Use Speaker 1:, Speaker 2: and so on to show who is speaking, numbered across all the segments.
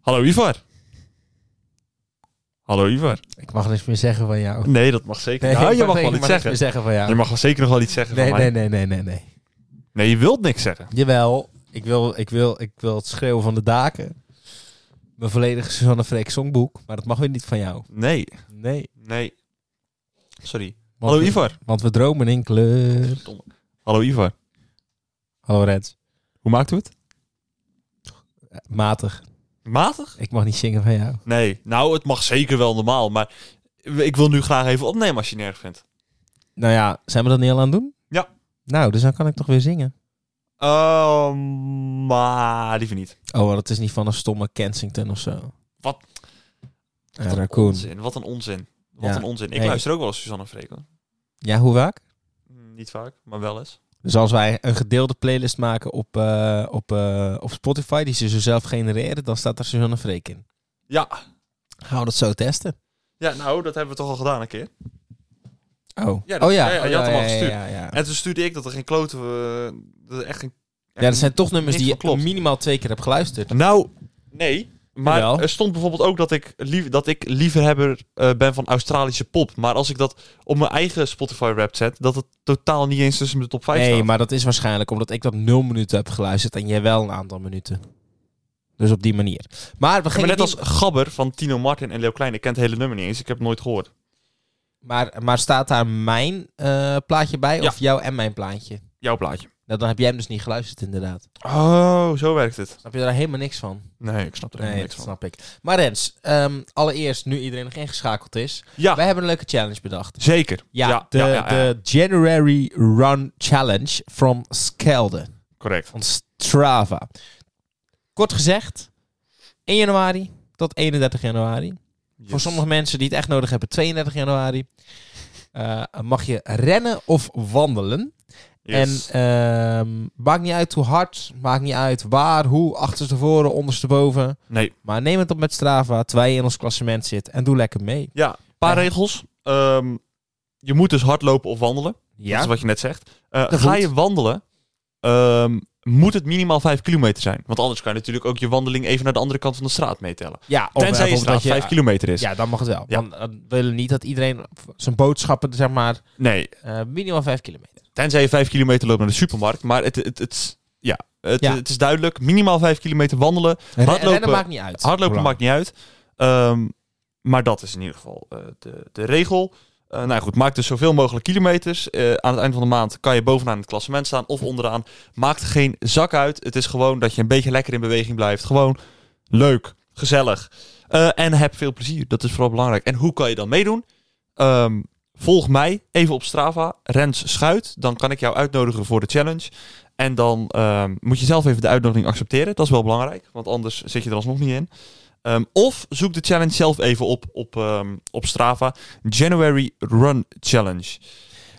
Speaker 1: Hallo Ivar. Hallo Ivar.
Speaker 2: Ik mag niks meer zeggen van jou.
Speaker 1: Nee, dat mag zeker.
Speaker 2: Oh. Nee,
Speaker 1: nou,
Speaker 2: ik
Speaker 1: je mag
Speaker 2: niks-
Speaker 1: wel
Speaker 2: ik
Speaker 1: iets
Speaker 2: niks
Speaker 1: zeggen.
Speaker 2: meer zeggen van
Speaker 1: Je
Speaker 2: jou.
Speaker 1: mag wel zeker nog wel iets zeggen
Speaker 2: Nee,
Speaker 1: van
Speaker 2: nee,
Speaker 1: mij.
Speaker 2: nee, nee, nee, nee.
Speaker 1: Nee, je wilt niks zeggen.
Speaker 2: Jawel, ik wil, ik wil, ik wil het schreeuwen van de daken. Mijn volledige Susanne Freek songboek. Maar dat mag weer niet van jou.
Speaker 1: Nee.
Speaker 2: Nee.
Speaker 1: Nee. Sorry.
Speaker 2: Want
Speaker 1: Hallo
Speaker 2: we-
Speaker 1: Ivar.
Speaker 2: Want we dromen in kleur.
Speaker 1: Hallo Ivar.
Speaker 2: Hallo Rens.
Speaker 1: Hoe maakt u het?
Speaker 2: Eh, Matig.
Speaker 1: Matig?
Speaker 2: Ik mag niet zingen van jou.
Speaker 1: Nee. Nou, het mag zeker wel normaal, maar ik wil nu graag even opnemen als je het nergens vindt.
Speaker 2: Nou ja, zijn we dat niet al aan het doen?
Speaker 1: Ja.
Speaker 2: Nou, dus dan kan ik toch weer zingen.
Speaker 1: Ehm, maar liever niet.
Speaker 2: Oh, dat is niet van een stomme Kensington of zo.
Speaker 1: Wat?
Speaker 2: Een
Speaker 1: wat een
Speaker 2: raccoon.
Speaker 1: onzin. Wat een onzin. Wat
Speaker 2: Ja.
Speaker 1: een onzin. Ik
Speaker 2: Nee.
Speaker 1: luister ook wel eens Suzanne en Freek. hoor.
Speaker 2: Ja, hoe vaak?
Speaker 1: Hm, Niet vaak, maar wel eens.
Speaker 2: Dus als wij een gedeelde playlist maken op, eh, op, eh, op Spotify, die ze zo zelf genereren, dan staat er Suzanne Freek in.
Speaker 1: Ja.
Speaker 2: Gaan we dat zo testen?
Speaker 1: Ja, nou, dat hebben we toch al gedaan een keer.
Speaker 2: Oh
Speaker 1: Ja, dat-
Speaker 2: oh, ja.
Speaker 1: ja, ja, je
Speaker 2: Oh,
Speaker 1: had hem al
Speaker 2: ja,
Speaker 1: gestuurd.
Speaker 2: Ja, ja, ja.
Speaker 1: En toen stuurde ik dat er geen kloten... eh, dat er echt geen...
Speaker 2: ja, dat zijn toch nummers
Speaker 1: niks
Speaker 2: die
Speaker 1: van
Speaker 2: je
Speaker 1: klopt.
Speaker 2: minimaal twee keer hebt geluisterd.
Speaker 1: Nou, nee. Maar
Speaker 2: Jawel.
Speaker 1: er stond bijvoorbeeld ook dat ik, lief, dat ik liefhebber eh, ben van Australische pop. Maar als ik dat op mijn eigen Spotify-rap zet, dat het totaal niet eens tussen de top 5
Speaker 2: Nee,
Speaker 1: staat.
Speaker 2: maar dat is waarschijnlijk omdat ik dat nul minuten heb geluisterd en jij wel een aantal minuten. Dus op die manier. Maar we
Speaker 1: Ja,
Speaker 2: gingen
Speaker 1: maar net
Speaker 2: niet-
Speaker 1: als Gabber van Tino Martin en Leo Klein. Ik ken het hele nummer niet eens. Ik heb het nooit gehoord.
Speaker 2: Maar, maar staat daar mijn eh, plaatje bij
Speaker 1: Ja.
Speaker 2: of jouw en mijn plaatje?
Speaker 1: Jouw plaatje.
Speaker 2: Nou, dan heb jij hem dus niet geluisterd inderdaad.
Speaker 1: Oh, zo werkt het.
Speaker 2: Snap je daar helemaal niks van?
Speaker 1: Nee, ik snap er helemaal
Speaker 2: Nee,
Speaker 1: niks
Speaker 2: dat
Speaker 1: van.
Speaker 2: snap ik. Maar Rens, ehm, allereerst, nu iedereen nog ingeschakeld is.
Speaker 1: Ja,
Speaker 2: Wij hebben een leuke challenge bedacht.
Speaker 1: zeker.
Speaker 2: Ah. Ja, de, de January Run Challenge from Skelde.
Speaker 1: Correct.
Speaker 2: Van Strava. Kort gezegd, 1 januari tot 31 januari. Voor sommige mensen die het echt nodig hebben, 32 januari. eh, mag je rennen of wandelen. En ehm, maakt niet uit hoe hard, maakt niet uit waar, hoe, achterstevoren, ondersteboven.
Speaker 1: nee.
Speaker 2: Maar neem het op met Strava, terwijl je in ons klassement zit. En doe lekker mee.
Speaker 1: Ja, een paar
Speaker 2: Ja.
Speaker 1: regels. Ehm, je moet dus hardlopen of wandelen. Dat is wat je net zegt. Eh,
Speaker 2: Dat
Speaker 1: ga
Speaker 2: goed.
Speaker 1: je wandelen, ehm, moet het minimaal 5 kilometer zijn. Want anders kan je natuurlijk ook je wandeling even naar de andere kant van de straat meetellen.
Speaker 2: ja of
Speaker 1: Tenzij je
Speaker 2: bijvoorbeeld
Speaker 1: straat
Speaker 2: dat
Speaker 1: 5 kilometer is.
Speaker 2: Ja, dan mag het wel.
Speaker 1: Ja.
Speaker 2: Want eh, we willen niet dat iedereen zijn boodschappen, zeg maar,
Speaker 1: Nee,
Speaker 2: eh, minimaal 5 kilometer.
Speaker 1: tenzij je 5 kilometer loopt naar de supermarkt. Maar het, het, het, ja, het,
Speaker 2: Ja.
Speaker 1: het is duidelijk. Minimaal 5 kilometer wandelen. Hardlopen-
Speaker 2: Rennen maakt niet uit.
Speaker 1: Hardlopen
Speaker 2: Hoe lang.
Speaker 1: maakt niet uit. Ehm, maar dat is in ieder geval eh, de, de regel. Eh, nou goed, maak dus zoveel mogelijk kilometers. Eh, aan het eind van de maand kan je bovenaan het klassement staan of onderaan. Maakt geen zak uit. Het is gewoon dat je een beetje lekker in beweging blijft. Gewoon leuk, gezellig. Eh, en heb veel plezier. Dat is vooral belangrijk. En hoe kan je dan meedoen? Ehm, volg mij even op Strava, Rens Schuit. Dan kan ik jou uitnodigen voor de challenge. En dan ehm, moet je zelf even de uitnodiging accepteren. Dat is wel belangrijk, want anders zit je er alsnog niet in. Ehm, of zoek de challenge zelf even op op, ehm, op Strava. January Run Challenge.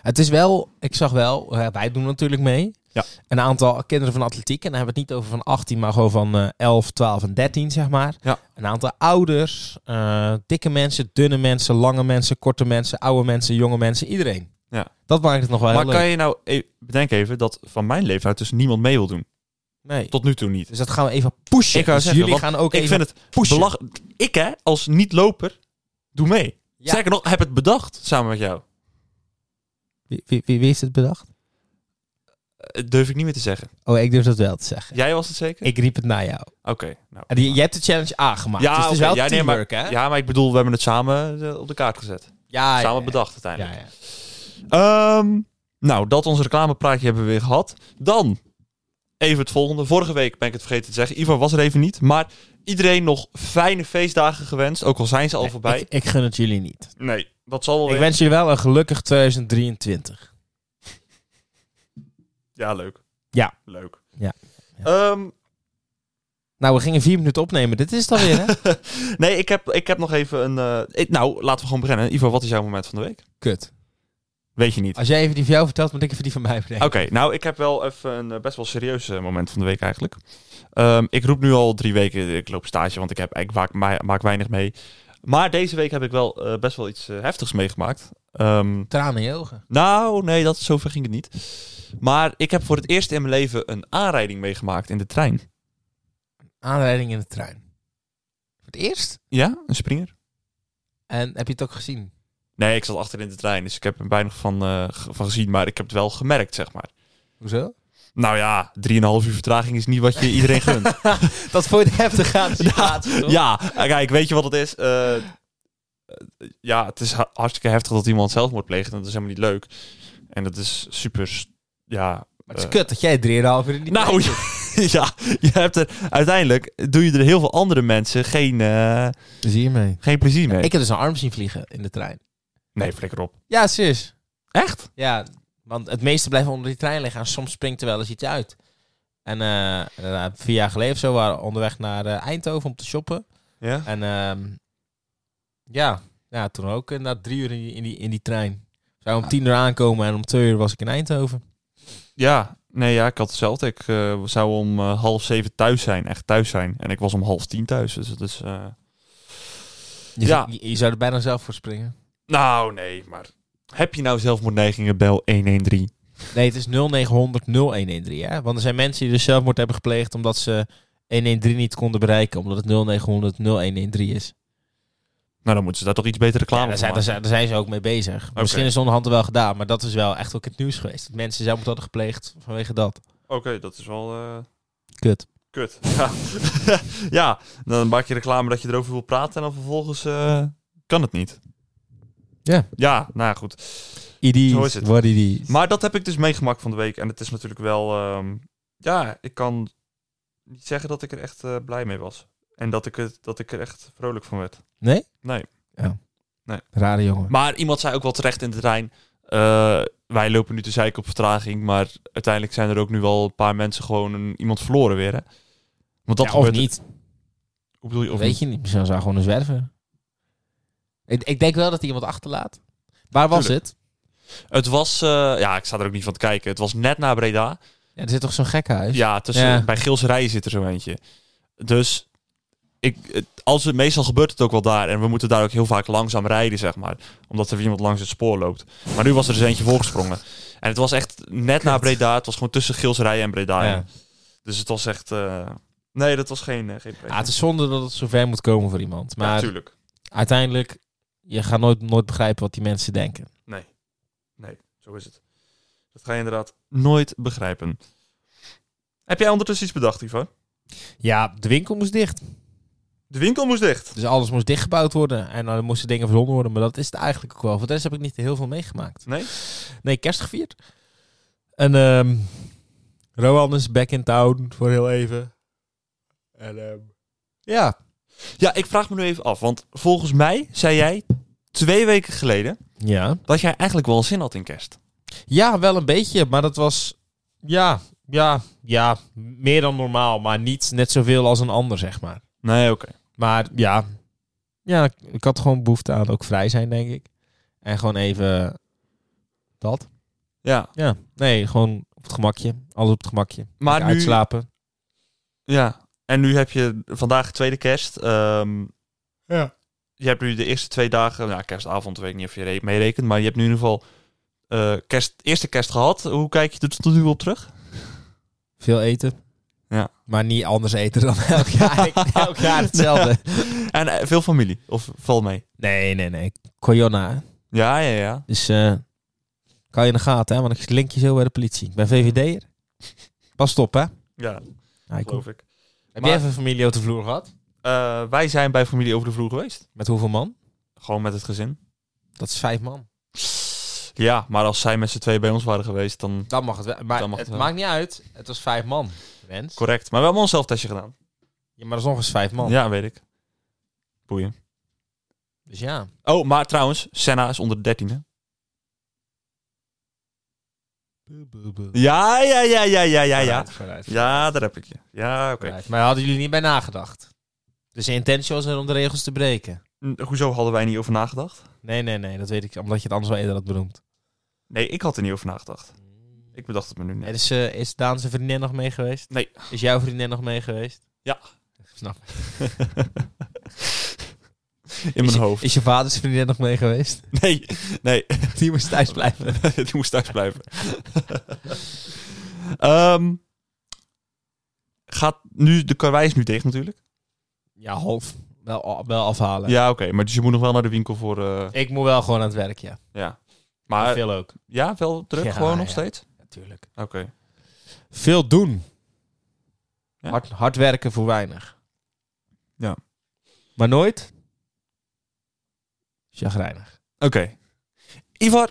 Speaker 2: Het is wel, ik zag wel, eh, wij doen natuurlijk mee.
Speaker 1: Ja.
Speaker 2: Een aantal kinderen van atletiek. En dan hebben we het niet over van 18, maar gewoon van eh 11, 12 en 13, zeg maar.
Speaker 1: Ja.
Speaker 2: Een aantal ouders, eh, dikke mensen, dunne mensen, lange mensen, korte mensen, oude mensen, jonge mensen, iedereen.
Speaker 1: Ja.
Speaker 2: Dat maakt het nog wel
Speaker 1: maar
Speaker 2: heel
Speaker 1: kan
Speaker 2: leuk.
Speaker 1: je nou e- bedenk even dat van mijn leeftijd dus niemand mee wil doen?
Speaker 2: Nee.
Speaker 1: Tot nu toe niet.
Speaker 2: Dus dat gaan we even pushen.
Speaker 1: Ik wou
Speaker 2: Dus
Speaker 1: zeggen,
Speaker 2: jullie
Speaker 1: want
Speaker 2: gaan ook
Speaker 1: ik
Speaker 2: even
Speaker 1: vind het
Speaker 2: pushen.
Speaker 1: belach. Ik hè, als niet-loper, doe mee.
Speaker 2: Ja.
Speaker 1: Sterker nog, heb het bedacht samen met jou.
Speaker 2: Wie, wie, wie wie heeft het bedacht?
Speaker 1: Eh, durf ik niet meer te zeggen.
Speaker 2: Oh, ik durf dat wel te zeggen.
Speaker 1: Jij was het zeker?
Speaker 2: Ik riep het naar jou.
Speaker 1: Oké. nou.
Speaker 2: En die- jij hebt de challenge aangemaakt.
Speaker 1: Ja,
Speaker 2: dus het is
Speaker 1: oké.
Speaker 2: wel
Speaker 1: Ja, nee, maar-
Speaker 2: teamwork, hè?
Speaker 1: Ja, maar ik bedoel, we hebben het samen eh, op de kaart gezet.
Speaker 2: ja,
Speaker 1: samen
Speaker 2: Ah, ja,
Speaker 1: bedacht
Speaker 2: ja,
Speaker 1: uiteindelijk.
Speaker 2: ja.
Speaker 1: Ehm, nou, dat ons reclamepraatje hebben we weer gehad. Dan even het volgende. Vorige week ben ik het vergeten te zeggen. Ivar was er even niet. Maar iedereen nog fijne feestdagen gewenst. Ook al zijn ze al
Speaker 2: Nee,
Speaker 1: voorbij.
Speaker 2: Ik, ik gun het jullie niet.
Speaker 1: nee, dat zal wel
Speaker 2: Ik
Speaker 1: weer.
Speaker 2: wens jullie wel een gelukkig 2023.
Speaker 1: Ja, leuk.
Speaker 2: Ja.
Speaker 1: Leuk.
Speaker 2: Ja. Ja.
Speaker 1: Ehm,
Speaker 2: Nou, we gingen vier minuten opnemen. Dit is het alweer, hè?
Speaker 1: nee, ik heb, ik heb nog even een... eh, ik- nou, laten we gewoon beginnen. Ivar, wat is jouw moment van de week?
Speaker 2: Kut.
Speaker 1: Weet je niet.
Speaker 2: Als jij even die van jou vertelt, moet ik even die van mij brengen.
Speaker 1: Oké, nou, ik heb wel even een eh, best wel serieus eh, moment van de week eigenlijk. Ehm, ik roep nu al drie weken, ik loop stage, want ik, heb, ik maak, ma- maak weinig mee. Maar deze week heb ik wel eh, best wel iets eh, heftigs meegemaakt. Ehm,
Speaker 2: Tranen in je ogen.
Speaker 1: nou, nee, dat, zover ging het niet. Maar ik heb voor het eerst in mijn leven een aanrijding meegemaakt in de trein.
Speaker 2: Aanrijding in de trein. het eerst?
Speaker 1: Ja, een springer.
Speaker 2: En heb je het ook gezien?
Speaker 1: Nee, ik zat achter in de trein, dus ik heb er weinig van, eh, ge- van gezien. Maar ik heb het wel gemerkt, zeg maar.
Speaker 2: Hoezo?
Speaker 1: Nou ja, 3,5 uur vertraging is niet wat je iedereen gunt.
Speaker 2: Dat voor de heftig gaat situatie, toch?
Speaker 1: Ja, eh, kijk, weet je wat het is? Eh, eh, ja, het is ha- hartstikke heftig dat iemand zelfmoord pleegt. En dat is helemaal niet leuk. En dat is super... s- Ja,
Speaker 2: Maar het is
Speaker 1: eh,
Speaker 2: kut dat jij 3,5 uur in die
Speaker 1: nou ja, ja, je hebt er... Uiteindelijk doe je er heel veel andere mensen geen, eh,
Speaker 2: Plezier mee.
Speaker 1: geen plezier mee.
Speaker 2: Ik heb dus een arm zien vliegen in de trein.
Speaker 1: Nee, flikker op.
Speaker 2: Ja, serieus.
Speaker 1: Echt?
Speaker 2: Ja, want het meeste blijven onder die trein liggen. En soms springt er wel eens iets uit. En eh, eh, vier jaar geleden of zo waren we onderweg naar eh, Eindhoven om te shoppen.
Speaker 1: Ja.
Speaker 2: En ehm, ja, ja, toen ook inderdaad drie uur in die, in die, in die trein. Zou om tien uur aankomen en om twee uur was ik in Eindhoven.
Speaker 1: Ja, nee, ja, ik had hetzelfde. Ik eh, zou om eh, half zeven thuis zijn, echt thuis zijn. En ik was om half tien thuis, dus dat is... eh,
Speaker 2: Je,
Speaker 1: Ja.
Speaker 2: je, je zou er bijna zelf voor springen.
Speaker 1: Nou, nee, maar... Heb je nou zelfmoordneigingen, bel 113.
Speaker 2: Nee, het is 0900 0113. Hè? Want er zijn mensen die dus zelfmoord hebben gepleegd omdat ze 113 niet konden bereiken. Omdat het 0900 0113 is.
Speaker 1: Nou, dan moeten ze daar toch iets beter reclame
Speaker 2: Ja, daar,
Speaker 1: voor
Speaker 2: zijn, daar,
Speaker 1: maken.
Speaker 2: zijn, daar zijn ze ook mee bezig. Misschien is het onderhand wel gedaan, maar dat is wel echt ook het nieuws geweest. Dat mensen zelf hadden gepleegd vanwege dat.
Speaker 1: Oké, dat is wel eh,
Speaker 2: Kut.
Speaker 1: kut. Ja. ja, dan maak je reclame dat je erover wil praten en dan vervolgens eh, kan het niet.
Speaker 2: Ja.
Speaker 1: Ja, nou ja, goed. Zo is
Speaker 2: ID's,
Speaker 1: het.
Speaker 2: what ID's.
Speaker 1: Maar dat heb ik dus meegemaakt van de week. En het is natuurlijk wel... ehm, ja, ik kan niet zeggen dat ik er echt eh, blij mee was. En dat ik, het, dat ik er echt vrolijk van werd.
Speaker 2: Nee?
Speaker 1: Nee.
Speaker 2: Ja.
Speaker 1: Nee.
Speaker 2: Rare jongen.
Speaker 1: Maar iemand zei ook wel terecht in de trein... eh, wij lopen nu te zeiken op vertraging, maar uiteindelijk zijn er ook nu wel een paar mensen gewoon een, iemand verloren weer. Hè? Want dat
Speaker 2: Ja, of
Speaker 1: gebeurt-
Speaker 2: niet.
Speaker 1: Hoe bedoel je? Of
Speaker 2: Weet
Speaker 1: niet?
Speaker 2: je niet. Misschien zou gewoon een zwerver. Ik, ik denk wel dat hij iemand achterlaat. Waar was
Speaker 1: Tuurlijk.
Speaker 2: het?
Speaker 1: Het was, eh, ja, ik sta er ook niet van te kijken. Het was net na Breda.
Speaker 2: Ja, er zit toch zo'n gekhuis?
Speaker 1: Ja, tussen,
Speaker 2: Ja.
Speaker 1: bij Geelse Rijen zit er zo eentje. Dus ik, het- als het, meestal gebeurt het ook wel daar. En we moeten daar ook heel vaak langzaam rijden, zeg maar. Omdat er weer iemand langs het spoor loopt. Maar nu was er dus eentje voorgesprongen. En het was echt net na
Speaker 2: Kut.
Speaker 1: Breda. Het was gewoon tussen Geelse Rijen en Breda.
Speaker 2: Ja.
Speaker 1: in. Dus het was echt... eh, nee, dat was geen... eh, geen
Speaker 2: Ja, Ah, het is zonde dat het zover moet komen voor iemand.
Speaker 1: maar...
Speaker 2: Maar
Speaker 1: natuurlijk.
Speaker 2: uiteindelijk, je gaat nooit, nooit begrijpen wat die mensen denken.
Speaker 1: Nee. Nee, zo is het. Dat ga je inderdaad nooit begrijpen. Heb jij ondertussen iets bedacht, Ivan?
Speaker 2: Ja, de winkel moest dicht.
Speaker 1: De winkel moest dicht.
Speaker 2: Dus alles moest dichtgebouwd worden. En dan moesten dingen verzonnen worden. Maar dat is het eigenlijk ook wel. Voor de rest heb ik niet heel veel meegemaakt.
Speaker 1: Nee?
Speaker 2: Nee, kerst gevierd. En ehm Rohan is back in town voor heel even. En ehm, ja.
Speaker 1: Ja, ik vraag me nu even af. Want volgens mij zei jij twee weken geleden
Speaker 2: ja.
Speaker 1: dat jij eigenlijk wel zin had in kerst.
Speaker 2: Ja, wel een beetje. Maar dat was... Ja, ja, ja. Meer dan normaal. Maar niet net zoveel als een ander, zeg maar.
Speaker 1: Nee, oké.
Speaker 2: Maar ja. Ja, ik- ik had gewoon behoefte aan ook vrij zijn, denk ik. En gewoon even... Dat.
Speaker 1: Ja,
Speaker 2: Ja, nee, gewoon op het gemakje. Alles op het gemakje.
Speaker 1: maar
Speaker 2: Lekker
Speaker 1: nu...
Speaker 2: Uitslapen.
Speaker 1: Ja, en nu heb je vandaag tweede kerst. ehm,
Speaker 2: Ja.
Speaker 1: je hebt nu de eerste twee dagen... Nou, kerstavond weet ik niet of je re- mee rekent. Maar je hebt nu in ieder geval eh, kerst, eerste kerst gehad. Hoe kijk je er tot nu op terug?
Speaker 2: Veel eten.
Speaker 1: Ja.
Speaker 2: Maar niet anders eten dan elk jaar, elk jaar hetzelfde.
Speaker 1: En eh, veel familie? Of val mee?
Speaker 2: Nee, nee, nee. Corona. hè.
Speaker 1: Ja, ja, ja.
Speaker 2: Dus eh kan je in de gaten, hè? Want ik link je zo bij de politie. Ik ben VVD'er. Pas op, hè?
Speaker 1: Ja,
Speaker 2: Ja, ik-
Speaker 1: geloof ik.
Speaker 2: Heb
Speaker 1: Maar-
Speaker 2: jij even familie op de vloer gehad?
Speaker 1: Eh, wij zijn bij familie over de vloer geweest.
Speaker 2: Met hoeveel man?
Speaker 1: Gewoon met het gezin.
Speaker 2: Dat is vijf man.
Speaker 1: Ja, maar als zij met z'n twee bij ons waren geweest, dan
Speaker 2: Dan mag het wel. Maar
Speaker 1: Dan mag
Speaker 2: het
Speaker 1: het wel.
Speaker 2: maakt niet uit. Het was vijf man. Rens.
Speaker 1: correct. Maar we hebben ons zelftestje gedaan.
Speaker 2: Ja, maar dat is nog eens vijf man.
Speaker 1: Ja, weet ik. Boeien.
Speaker 2: Dus ja.
Speaker 1: Oh, maar trouwens, Senna is onder de 13, hè? Ja, ja, ja, ja, ja, ja, ja.
Speaker 2: Vooruit, vooruit.
Speaker 1: Ja, daar heb ik je. Ja, oké.
Speaker 2: Right, Maar daar hadden jullie niet bij nagedacht? Dus de intentie was er om de regels te breken?
Speaker 1: N- Hoezo hadden wij niet over nagedacht?
Speaker 2: Nee, nee, nee, dat weet ik. Omdat je het anders wel eerder had benoemd.
Speaker 1: Nee, ik had er niet over nagedacht. Ik bedacht het me nu
Speaker 2: Nee,
Speaker 1: net.
Speaker 2: dus, eh, is Daan zijn vriendin nog mee geweest?
Speaker 1: Nee.
Speaker 2: Is jouw vriendin nog mee geweest?
Speaker 1: Ja.
Speaker 2: Snap.
Speaker 1: In
Speaker 2: Is
Speaker 1: mijn
Speaker 2: je-
Speaker 1: hoofd.
Speaker 2: Is je vaders vriendin nog mee geweest?
Speaker 1: Nee, nee.
Speaker 2: Die moest thuis blijven.
Speaker 1: Die moest thuis blijven. Ehm, gaat nu, de karwei is nu dicht natuurlijk.
Speaker 2: Ja, half. Wel, a- wel afhalen.
Speaker 1: Ja, oké. maar dus je moet nog wel naar de winkel voor... eh,
Speaker 2: Ik moet wel gewoon aan het werk, ja.
Speaker 1: ja.
Speaker 2: Maar
Speaker 1: Maar
Speaker 2: veel ook.
Speaker 1: ja, wel druk
Speaker 2: Ja,
Speaker 1: gewoon nog
Speaker 2: ja.
Speaker 1: steeds?
Speaker 2: Natuurlijk.
Speaker 1: Oké.
Speaker 2: Veel doen.
Speaker 1: Ja.
Speaker 2: Hard, hard werken voor weinig.
Speaker 1: Ja.
Speaker 2: Maar nooit chagrijnig.
Speaker 1: Oké. Ivar,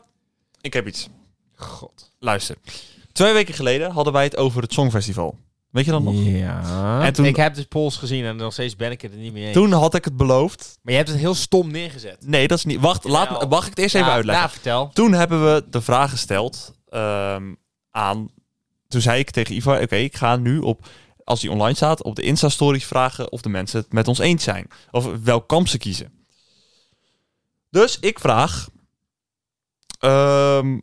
Speaker 1: ik heb iets.
Speaker 2: God.
Speaker 1: Luister. Twee weken geleden hadden wij het over het Songfestival. Weet je dat nog?
Speaker 2: Ja.
Speaker 1: En toen-
Speaker 2: Ik heb de polls gezien en nog steeds ben ik het er niet mee eens.
Speaker 1: Toen had ik het beloofd.
Speaker 2: Maar je hebt het heel stom neergezet.
Speaker 1: Nee, dat is niet... Wacht, laat,
Speaker 2: Jawel.
Speaker 1: mag ik het eerst even
Speaker 2: Ja,
Speaker 1: uitleggen?
Speaker 2: Ja, vertel.
Speaker 1: Toen hebben we de vraag gesteld ehm, aan... Toen zei ik tegen Ivar, oké, ik ga nu op... Als die online staat, op de Insta-stories vragen of de mensen het met ons eens zijn. Of welk kamp ze kiezen. Dus ik vraag... ehm,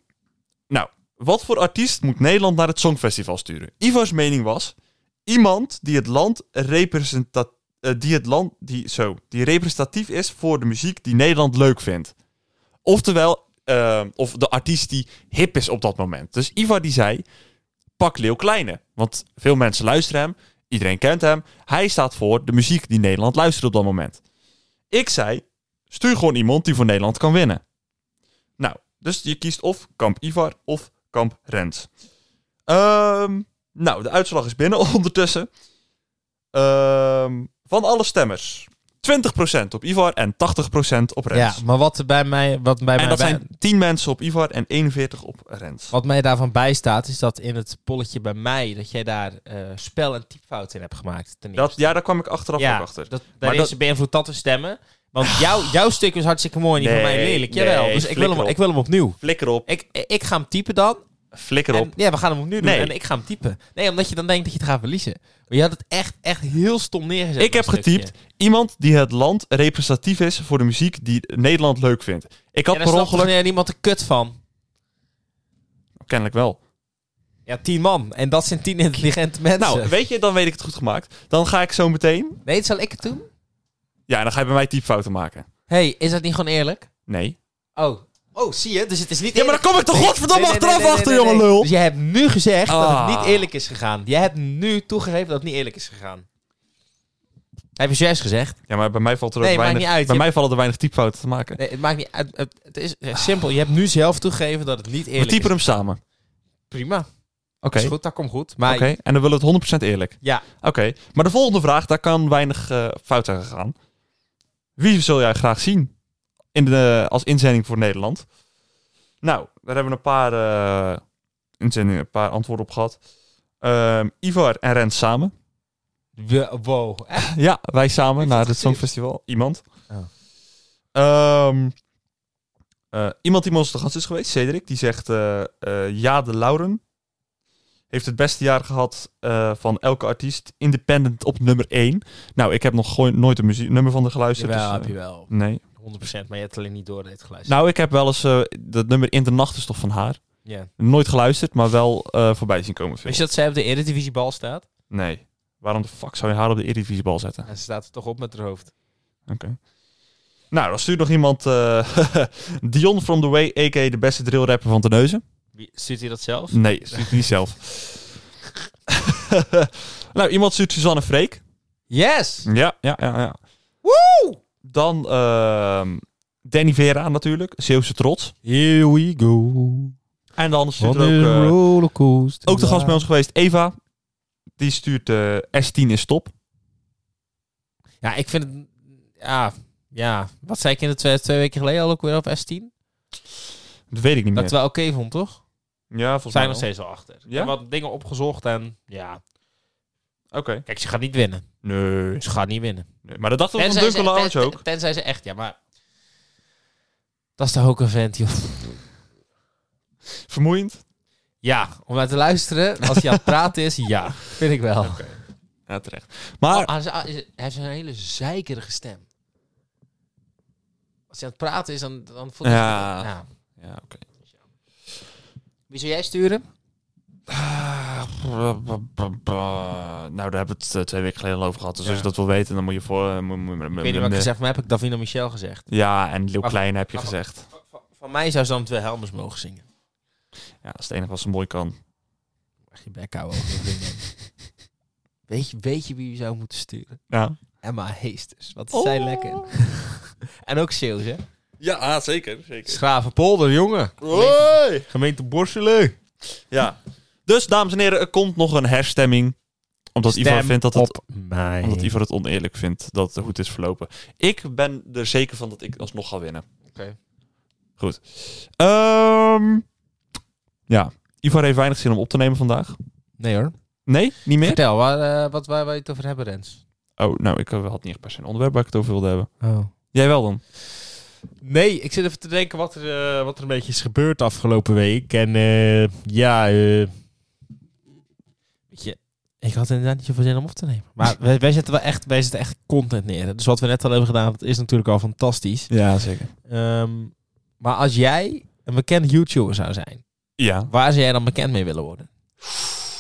Speaker 1: nou, wat voor artiest moet Nederland naar het Songfestival sturen? Ivar's mening was... Iemand die het land representatief... die het land... Die, zo, die representatief is voor de muziek die Nederland leuk vindt. Oftewel, ehm, of de artiest die hip is op dat moment. Dus Ivar die zei, pak Leeuw Kleine. Want veel mensen luisteren hem, iedereen kent hem. Hij staat voor de muziek die Nederland luistert op dat moment. Ik zei, stuur gewoon iemand die voor Nederland kan winnen. Nou, dus je kiest of kamp Ivar of kamp Rens. Ehm, nou, de uitslag is binnen ondertussen. Ehm, van alle stemmers. 20% op Ivar en 80% op Rens.
Speaker 2: Ja, maar wat er bij mij, wat bij mij
Speaker 1: En dat
Speaker 2: bij-
Speaker 1: zijn 10 mensen op Ivar en 41 op Rens.
Speaker 2: Wat mij daarvan bijstaat, is dat in het polletje bij mij, dat jij daar eh, spel- en typfouten in hebt gemaakt. ten
Speaker 1: Dat,
Speaker 2: eerste.
Speaker 1: ja, daar kwam ik achteraf
Speaker 2: ja,
Speaker 1: ook achter.
Speaker 2: Dat,
Speaker 1: Maar
Speaker 2: daarin
Speaker 1: dat-
Speaker 2: is beïnvloed dat te stemmen. Want jouw jouw stuk is hartstikke mooi en die van
Speaker 1: Nee,
Speaker 2: mij lelijk.
Speaker 1: nee,
Speaker 2: Jawel, dus ik wil,
Speaker 1: flikker
Speaker 2: hem,
Speaker 1: op.
Speaker 2: ik wil hem opnieuw.
Speaker 1: Flikker op,
Speaker 2: Ik, ik ga hem typen dan.
Speaker 1: flikker op.
Speaker 2: En, ja, we gaan hem opnieuw doen.
Speaker 1: Nee.
Speaker 2: En ik ga hem typen. Nee, omdat je dan denkt dat je het gaat verliezen. Maar je had het echt, echt heel stom neergezet.
Speaker 1: Ik heb
Speaker 2: dat stukje.
Speaker 1: getypt iemand die het land representatief is voor de muziek die Nederland leuk vindt. Ik had
Speaker 2: Ja, daar
Speaker 1: per
Speaker 2: snapt
Speaker 1: ongeluk...
Speaker 2: gewoon niemand de kut van.
Speaker 1: Kennelijk wel.
Speaker 2: Ja, tien man. En dat zijn tien intelligente mensen.
Speaker 1: Nou, weet je, dan weet ik het goed gemaakt. Dan ga ik zo meteen...
Speaker 2: nee, zal ik het doen?
Speaker 1: Ja, dan ga je bij mij typfouten maken.
Speaker 2: hey, is dat niet gewoon eerlijk?
Speaker 1: Nee.
Speaker 2: Oh. Oh, zie je? Dus het is niet
Speaker 1: Ja, maar dan kom ik toch godverdomme
Speaker 2: Nee, nee,
Speaker 1: achteraf
Speaker 2: nee, nee,
Speaker 1: achter,
Speaker 2: nee,
Speaker 1: jongen
Speaker 2: nee.
Speaker 1: lul.
Speaker 2: Dus jij hebt nu gezegd dat het
Speaker 1: Ah.
Speaker 2: niet eerlijk is gegaan. Jij hebt nu toegegeven dat het niet eerlijk is gegaan. Heb je zojuist gezegd?
Speaker 1: Ja, maar bij mij valt er ook
Speaker 2: Nee, maakt
Speaker 1: weinig...
Speaker 2: niet uit.
Speaker 1: Bij
Speaker 2: Je-
Speaker 1: mij vallen er weinig typfouten te maken.
Speaker 2: Nee, het maakt niet uit. Het, het is eh, simpel. Je hebt nu zelf toegegeven dat het niet
Speaker 1: We
Speaker 2: eerlijk
Speaker 1: typen
Speaker 2: is.
Speaker 1: hem samen. Oké,
Speaker 2: Prima. Is goed, dat komt goed. Maar
Speaker 1: oké. En dan willen we het 100% eerlijk.
Speaker 2: ja,
Speaker 1: Oké, maar de volgende vraag, daar kan weinig eh, fout zijn gegaan. Wie zul jij graag zien in de, als inzending voor Nederland? Nou, daar hebben we een paar eh, inzendingen, een paar antwoorden op gehad. Ehm, Ivar en Rens samen.
Speaker 2: we, wow. Echt?
Speaker 1: Ja, wij samen
Speaker 2: Heeft
Speaker 1: naar
Speaker 2: het
Speaker 1: het
Speaker 2: gezien?
Speaker 1: Songfestival. Iemand.
Speaker 2: Oh.
Speaker 1: Ehm, eh, iemand die bij ons te gast is geweest, Cedric, die zegt eh, eh, Ja de Lauren. Heeft het beste jaar gehad eh, van elke artiest. Independent op nummer 1. Nou, ik heb nog gewoon nooit een muziek, nummer van de geluisterd.
Speaker 2: Jawel,
Speaker 1: dus, eh,
Speaker 2: heb je wel. 100%.
Speaker 1: nee.
Speaker 2: Maar je hebt alleen niet door dit geluisterd.
Speaker 1: Nou, ik heb wel eens eh, dat nummer In de Nacht is toch van haar.
Speaker 2: ja.
Speaker 1: Nooit geluisterd, maar wel eh, voorbij zien komen. Veel.
Speaker 2: Weet je dat zij op de Eredivisiebal staat?
Speaker 1: Nee. Waarom de fuck zou je haar op de Eredivisiebal zetten?
Speaker 2: En ze staat er toch op met haar hoofd.
Speaker 1: Nou, dan stuurt nog iemand eh, Dion from the Way, a.k.a. de beste drillrapper van Terneuzen.
Speaker 2: Wie, stuurt hij dat zelf?
Speaker 1: Nee, stuurt hij niet zelf. nou, iemand stuurt Suzanne Freek.
Speaker 2: Yes!
Speaker 1: Ja, ja, ja. ja. Dan ehm, Danny Vera natuurlijk, Zeeuwse trots.
Speaker 2: Here we go.
Speaker 1: En dan stuurt
Speaker 2: Wat
Speaker 1: er ook,
Speaker 2: een
Speaker 1: eh,
Speaker 2: rollercoaster.
Speaker 1: ook de gast bij ons geweest, Eva. Die stuurt eh, S10 is top.
Speaker 2: Ja, ik vind het... Ja, ja. wat zei ik in de twee, twee weken geleden al ook weer op S10?
Speaker 1: Dat weet ik niet
Speaker 2: Dat ik
Speaker 1: meer.
Speaker 2: het wel oké vond, toch?
Speaker 1: Ja, volgens
Speaker 2: We zijn
Speaker 1: mij
Speaker 2: er nog
Speaker 1: wel.
Speaker 2: steeds wel achter.
Speaker 1: Ja?
Speaker 2: Ik heb wat dingen opgezocht en... Ja.
Speaker 1: Oké.
Speaker 2: Kijk, ze gaat niet winnen.
Speaker 1: Nee,
Speaker 2: Ze gaat niet winnen.
Speaker 1: nee. Maar dat dachten we van Duncan Lawrence
Speaker 2: ten-
Speaker 1: ook.
Speaker 2: Tenzij ze echt... Ja, maar... Dat is toch ook een vent, joh.
Speaker 1: Vermoeiend.
Speaker 2: Ja, om naar te luisteren, als hij aan het praten is, ja. Vind ik wel.
Speaker 1: Ja, terecht. Maar
Speaker 2: Oh, hij is- hij heeft een hele zeikerige stem. Als hij aan het praten is, dan, dan voelt hij...
Speaker 1: Ja.
Speaker 2: Ja.
Speaker 1: Oh, Ja, oké.
Speaker 2: Wie zou jij sturen?
Speaker 1: Nou, daar hebben we het eh, twee weken geleden al over gehad. Dus als je dat wil weten, dan moet je voor... eh, moet- moet- moet- moet-
Speaker 2: Ik weet niet wat ik
Speaker 1: moet-
Speaker 2: gezegd heb, maar heb ik Davina Michel gezegd?
Speaker 1: Ja, en Leeuw
Speaker 2: Maar-
Speaker 1: Klein heb je
Speaker 2: maar-
Speaker 1: gezegd.
Speaker 2: Van, mij zou ze dan twee helmers mogen zingen.
Speaker 1: Ja, dat is het enige wat ze mooi kan.
Speaker 2: Echt je bek houden. over dat ding, man. Weet je, weet je wie we zou moeten sturen?
Speaker 1: Ja,
Speaker 2: Emma Heesters. Wat is
Speaker 1: Oh.
Speaker 2: zij lekker. en ook Zeeuws, hè?
Speaker 1: ja ah, zeker. zeker.
Speaker 2: Schravenpolder, jongen.
Speaker 1: Hoi!
Speaker 2: Gemeente Borselen.
Speaker 1: Ja. Dus, dames en heren, er komt nog een herstemming. Omdat Ivar vindt dat het
Speaker 2: op mij.
Speaker 1: Omdat Ivar het oneerlijk vindt dat het goed is verlopen. Ik ben er zeker van dat ik alsnog ga winnen.
Speaker 2: Oké.
Speaker 1: Goed. Ehm, ja. Ivar heeft weinig zin om op te nemen vandaag.
Speaker 2: Nee hoor.
Speaker 1: Nee, niet meer?
Speaker 2: Vertel, waar, eh, wat, waar wij het over hebben, Rens.
Speaker 1: Oh, nou, ik eh, had niet echt per se een onderwerp waar ik het over wilde hebben.
Speaker 2: Oh.
Speaker 1: Jij wel dan?
Speaker 2: Nee, ik zit even te denken wat er, eh, wat er een beetje is gebeurd afgelopen week. En eh, ja, eh, weet je, ik had inderdaad niet zoveel zin om op te nemen. Maar wij, wij zetten wel echt, wij zetten echt content neer. hè. Dus wat we net al hebben gedaan, dat is natuurlijk al fantastisch.
Speaker 1: Ja, zeker.
Speaker 2: Ehm, maar als jij een bekend YouTuber zou zijn,
Speaker 1: Ja.
Speaker 2: waar zou jij dan bekend mee willen worden?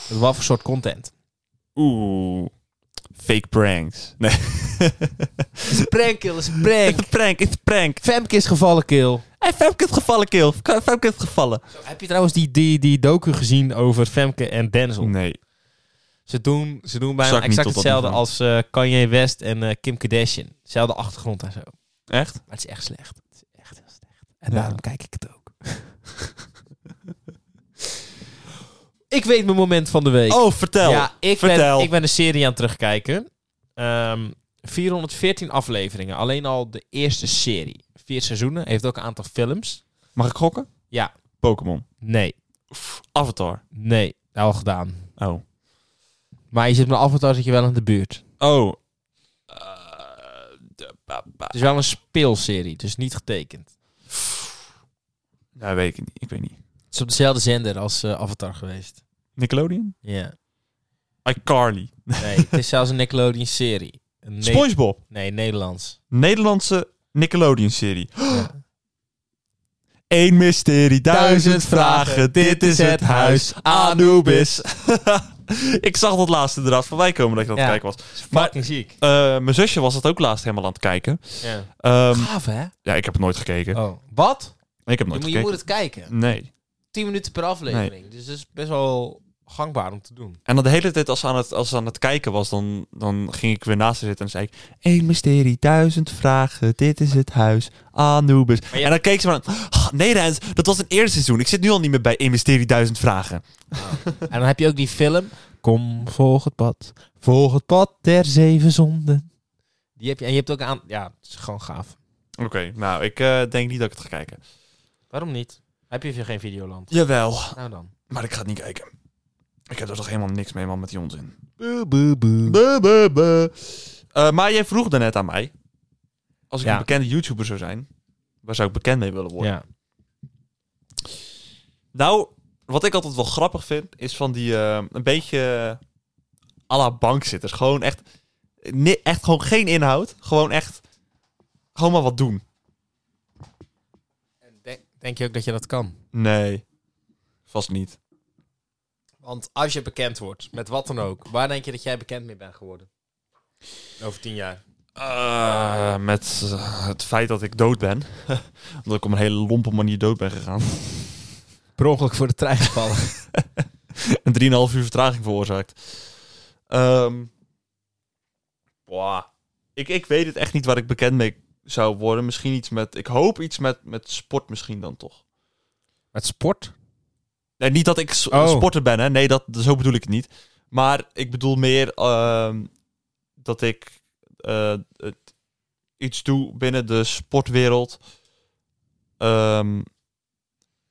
Speaker 2: Met wat voor soort content?
Speaker 1: Oeh. Fake pranks. Nee.
Speaker 2: Het is een prank, kill, is een prank.
Speaker 1: It's a prank, it's a prank.
Speaker 2: Femke is gevallen, kill.
Speaker 1: Hey, Femke is gevallen, kill. Femke is gevallen.
Speaker 2: Heb je trouwens die, die, die docu gezien over Femke en Denzel?
Speaker 1: Nee.
Speaker 2: Ze doen, ze doen bijna
Speaker 1: Zak niet
Speaker 2: exact
Speaker 1: tot dat
Speaker 2: hetzelfde
Speaker 1: niveau.
Speaker 2: als eh, Kanye West en eh, Kim Kardashian. Zelfde achtergrond en zo.
Speaker 1: Echt?
Speaker 2: Maar het is echt slecht. Het is echt heel slecht. En
Speaker 1: Ja.
Speaker 2: daarom kijk ik het ook. ik weet mijn moment van de week.
Speaker 1: Oh, vertel.
Speaker 2: ja, ik
Speaker 1: vertel.
Speaker 2: Ben, ik ben een serie aan het terugkijken. Ehm, 414 afleveringen. Alleen al de eerste serie. Vier seizoenen. Heeft ook een aantal films.
Speaker 1: Mag ik gokken?
Speaker 2: Ja.
Speaker 1: Pokémon.
Speaker 2: Nee.
Speaker 1: Avatar.
Speaker 2: Nee. Nou, al gedaan.
Speaker 1: Oh.
Speaker 2: Maar je zit me af en toe zit je wel in de buurt.
Speaker 1: Oh. Uh,
Speaker 2: Het is wel een speelserie. Dus niet getekend.
Speaker 1: Nou, weet ik niet. Ik weet niet.
Speaker 2: Het is op dezelfde zender als eh, Avatar geweest.
Speaker 1: Nickelodeon?
Speaker 2: Ja.
Speaker 1: iCarly.
Speaker 2: Nee, het is zelfs een Nickelodeon-serie. Een Ne-
Speaker 1: SpongeBob.
Speaker 2: Nee, Nederlands.
Speaker 1: Nederlandse Nickelodeon-serie.
Speaker 2: Ja.
Speaker 1: Eén mysterie, duizend vragen. Dit is het huis. Anubis. ik zag dat laatste inderdaad voorbij komen dat ik dat
Speaker 2: Ja.
Speaker 1: aan het kijken was. Maar-
Speaker 2: Fucking ziek.
Speaker 1: Eh, mijn zusje was dat ook laatst helemaal aan het kijken.
Speaker 2: Ja.
Speaker 1: Ehm,
Speaker 2: Gaaf, hè?
Speaker 1: ja, ik heb het nooit gekeken.
Speaker 2: Oh. Wat?
Speaker 1: Ik heb
Speaker 2: Je
Speaker 1: nooit
Speaker 2: moet, je
Speaker 1: gekeken.
Speaker 2: moet het kijken.
Speaker 1: Nee.
Speaker 2: 10 minuten per aflevering. Dus dat is best wel gangbaar om te doen.
Speaker 1: En dan de hele tijd als ze aan het, als ze aan het kijken was, dan, dan ging ik weer naast haar zitten en zei ik... Eén mysterie, duizend vragen, dit is het huis, Anubis.
Speaker 2: Maar je-
Speaker 1: En dan keek ze maar aan. "Ah, nee Rens, dat was een eerste seizoen. Ik zit nu al niet meer bij Eén mysterie, duizend vragen.
Speaker 2: en dan heb je ook die film. Kom, volg het pad. Volg het pad der zeven zonden. Die heb je, en je hebt ook aan... Ja, het is gewoon gaaf.
Speaker 1: Oké, nou, ik eh, denk niet dat ik het ga kijken.
Speaker 2: Waarom niet? Heb je geen Videoland?
Speaker 1: Jawel,
Speaker 2: Nou dan.
Speaker 1: maar ik ga het niet kijken. Ik heb er toch helemaal niks mee, man, met die onzin.
Speaker 2: Boe, boe, boe.
Speaker 1: Buh, buh, buh. Eh, maar jij vroeg daarnet aan mij... Als ik
Speaker 2: Ja.
Speaker 1: een bekende YouTuber zou zijn, waar zou ik bekend mee willen worden?
Speaker 2: Ja.
Speaker 1: Nou, wat ik altijd wel grappig vind, is van die eh, een beetje à la bankzitters. Gewoon echt, ni- echt gewoon geen inhoud. Gewoon echt, gewoon maar wat doen.
Speaker 2: En denk, denk je ook dat je dat kan?
Speaker 1: Nee, vast niet.
Speaker 2: Want als je bekend wordt, met wat dan ook, waar denk je dat jij bekend mee bent geworden? Over tien jaar.
Speaker 1: Eh, met eh, het feit dat ik dood ben. Omdat ik op een hele lompe manier dood ben gegaan.
Speaker 2: Per ongeluk voor de trein gevallen.
Speaker 1: en 3,5 uur vertraging veroorzaakt. Ehm boah. Ik, ik weet het echt niet waar ik bekend mee zou worden. Misschien iets met, ik hoop iets met, met sport misschien dan toch.
Speaker 2: met sport?
Speaker 1: Nee, niet dat ik s-
Speaker 2: Oh.
Speaker 1: sporter ben, hè. Nee, dat, zo bedoel ik het niet. Maar ik bedoel meer ehm, dat ik eh, het iets doe binnen de sportwereld. Ehm,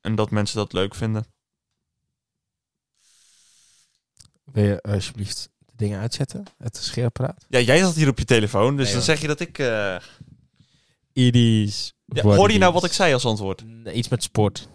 Speaker 1: en dat mensen dat leuk vinden.
Speaker 2: Wil je alsjeblieft de dingen uitzetten? Het scheerapparaat?
Speaker 1: Ja, jij zat hier op je telefoon, dus
Speaker 2: Nee,
Speaker 1: dan
Speaker 2: hoor.
Speaker 1: zeg je dat ik... eh,
Speaker 2: E Idies.
Speaker 1: ja, hoorde je nou wat ik zei als antwoord?
Speaker 2: Iets met sport.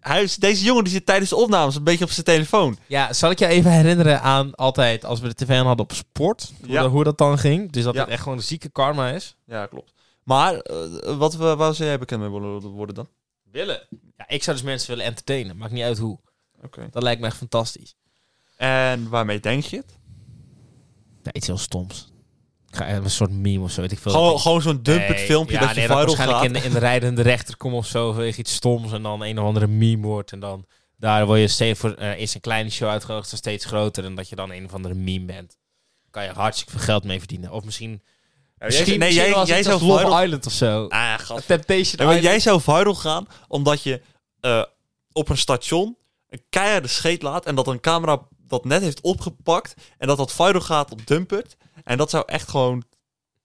Speaker 1: Hij is, deze jongen die zit tijdens de opnames een beetje op zijn telefoon.
Speaker 2: Ja, zal ik je even herinneren aan altijd als we de tv aan hadden op sport. Hoe,
Speaker 1: Ja.
Speaker 2: dat, hoe dat dan ging. Dus dat
Speaker 1: Ja.
Speaker 2: het echt gewoon een zieke karma is.
Speaker 1: Ja, klopt. Maar eh, wat, we- waar zou jij bekend mee willen worden dan?
Speaker 2: Willen. Ja, ik zou dus mensen willen entertainen. Maakt niet uit hoe.
Speaker 1: Oké.
Speaker 2: Dat lijkt me echt fantastisch.
Speaker 1: En waarmee denk je het?
Speaker 2: Ja, iets heel stoms. Ik ga even een soort meme of zo. Weet ik veel.
Speaker 1: Gewoon, gewoon zo'n dumpet
Speaker 2: Nee,
Speaker 1: filmpje
Speaker 2: ja,
Speaker 1: dat je
Speaker 2: nee,
Speaker 1: viral
Speaker 2: waarschijnlijk
Speaker 1: gaat.
Speaker 2: In, de- in de rijdende rechter komt of zo vanwege iets stoms en dan een of andere meme wordt en dan daar word je steeds voor eh, eerst een kleine show uitgenodigd, dan steeds groter en dat je dan een of andere meme bent. kan je hartstikke veel geld mee verdienen. Of misschien...
Speaker 1: Misschien-
Speaker 2: misschien
Speaker 1: nee,
Speaker 2: misschien
Speaker 1: jij,
Speaker 2: wel
Speaker 1: jij,
Speaker 2: als iets
Speaker 1: zou
Speaker 2: als Love
Speaker 1: viral...
Speaker 2: Island of zo.
Speaker 1: Ah, gast.
Speaker 2: Temptation
Speaker 1: Nee, maar
Speaker 2: Island.
Speaker 1: jij zou viral gaan omdat je eh, op een station een keiharde scheet laat en dat een camera dat net heeft opgepakt en dat dat viral gaat op Dumpert. En dat zou echt gewoon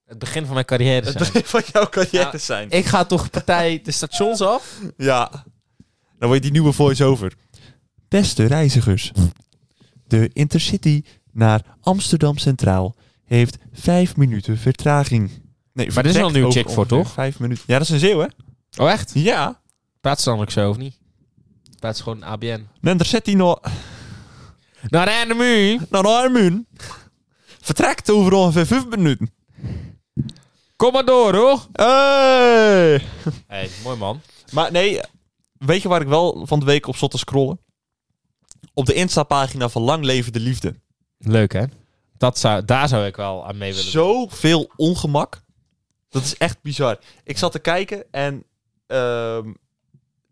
Speaker 2: Het begin van mijn carrière
Speaker 1: het
Speaker 2: zijn.
Speaker 1: begin van jouw carrière
Speaker 2: Ja.
Speaker 1: zijn.
Speaker 2: Ik ga toch partij de stations af?
Speaker 1: Ja. Dan word je die nieuwe voice-over. Beste reizigers. De Intercity naar Amsterdam Centraal heeft vijf minuten vertraging. Nee,
Speaker 2: Maar er is wel een nieuwe chick voor, toch?
Speaker 1: Vijf minuten. Ja, dat is een zeeuw, hè?
Speaker 2: Oh, echt?
Speaker 1: Ja.
Speaker 2: Praat ze dan ook zo, of niet? Praat ze gewoon ABN.
Speaker 1: De Intercity naar
Speaker 2: Naar Enemuur
Speaker 1: naar Armun. Vertrekt over ongeveer vijf minuten.
Speaker 2: Kom maar door, hoor.
Speaker 1: Hey.
Speaker 2: hey, mooi man.
Speaker 1: Maar nee, weet je waar ik wel van de week op zat te scrollen? Op de Insta-pagina van Lang Leven de Liefde.
Speaker 2: Leuk, hè? Dat zou, daar zou ik wel aan mee willen
Speaker 1: zoveel ongemak. Dat is echt bizar. Ik zat te kijken en ehm,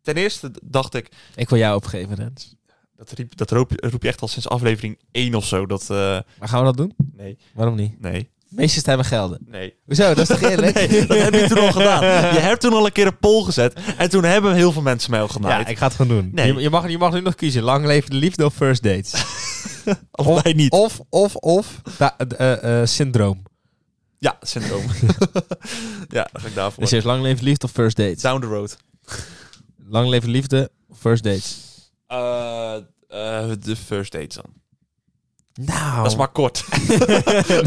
Speaker 1: ten eerste d- dacht ik,
Speaker 2: doen. Ik wil jou opgeven, Rens.
Speaker 1: dat, riep, dat roep, roep je echt al sinds aflevering 1 of zo. Dat, eh,
Speaker 2: Maar gaan we dat doen?
Speaker 1: nee,
Speaker 2: Waarom niet?
Speaker 1: nee,
Speaker 2: Meesters hebben gelden.
Speaker 1: nee.
Speaker 2: Hoezo? Dat is toch eerlijk?
Speaker 1: Nee, dat heb je toen al gedaan. Je hebt toen al een keer een poll gezet en toen hebben heel veel mensen mij al genaaid.
Speaker 2: Ja, ik ga het gewoon doen.
Speaker 1: Nee.
Speaker 2: Je, je mag, je mag nu nog kiezen. Lang leven de liefde of first dates.
Speaker 1: of wij niet.
Speaker 2: Of, of, of da- eh, eh, syndroom.
Speaker 1: Ja, syndroom. ja, dan ga ik daarvoor.
Speaker 2: Dus eerst lang leven de liefde of first dates?
Speaker 1: Down the road.
Speaker 2: Lang leven de liefde of first dates?
Speaker 1: Eh, eh, de first dates dan. Oh.
Speaker 2: Nou.
Speaker 1: Dat is maar kort.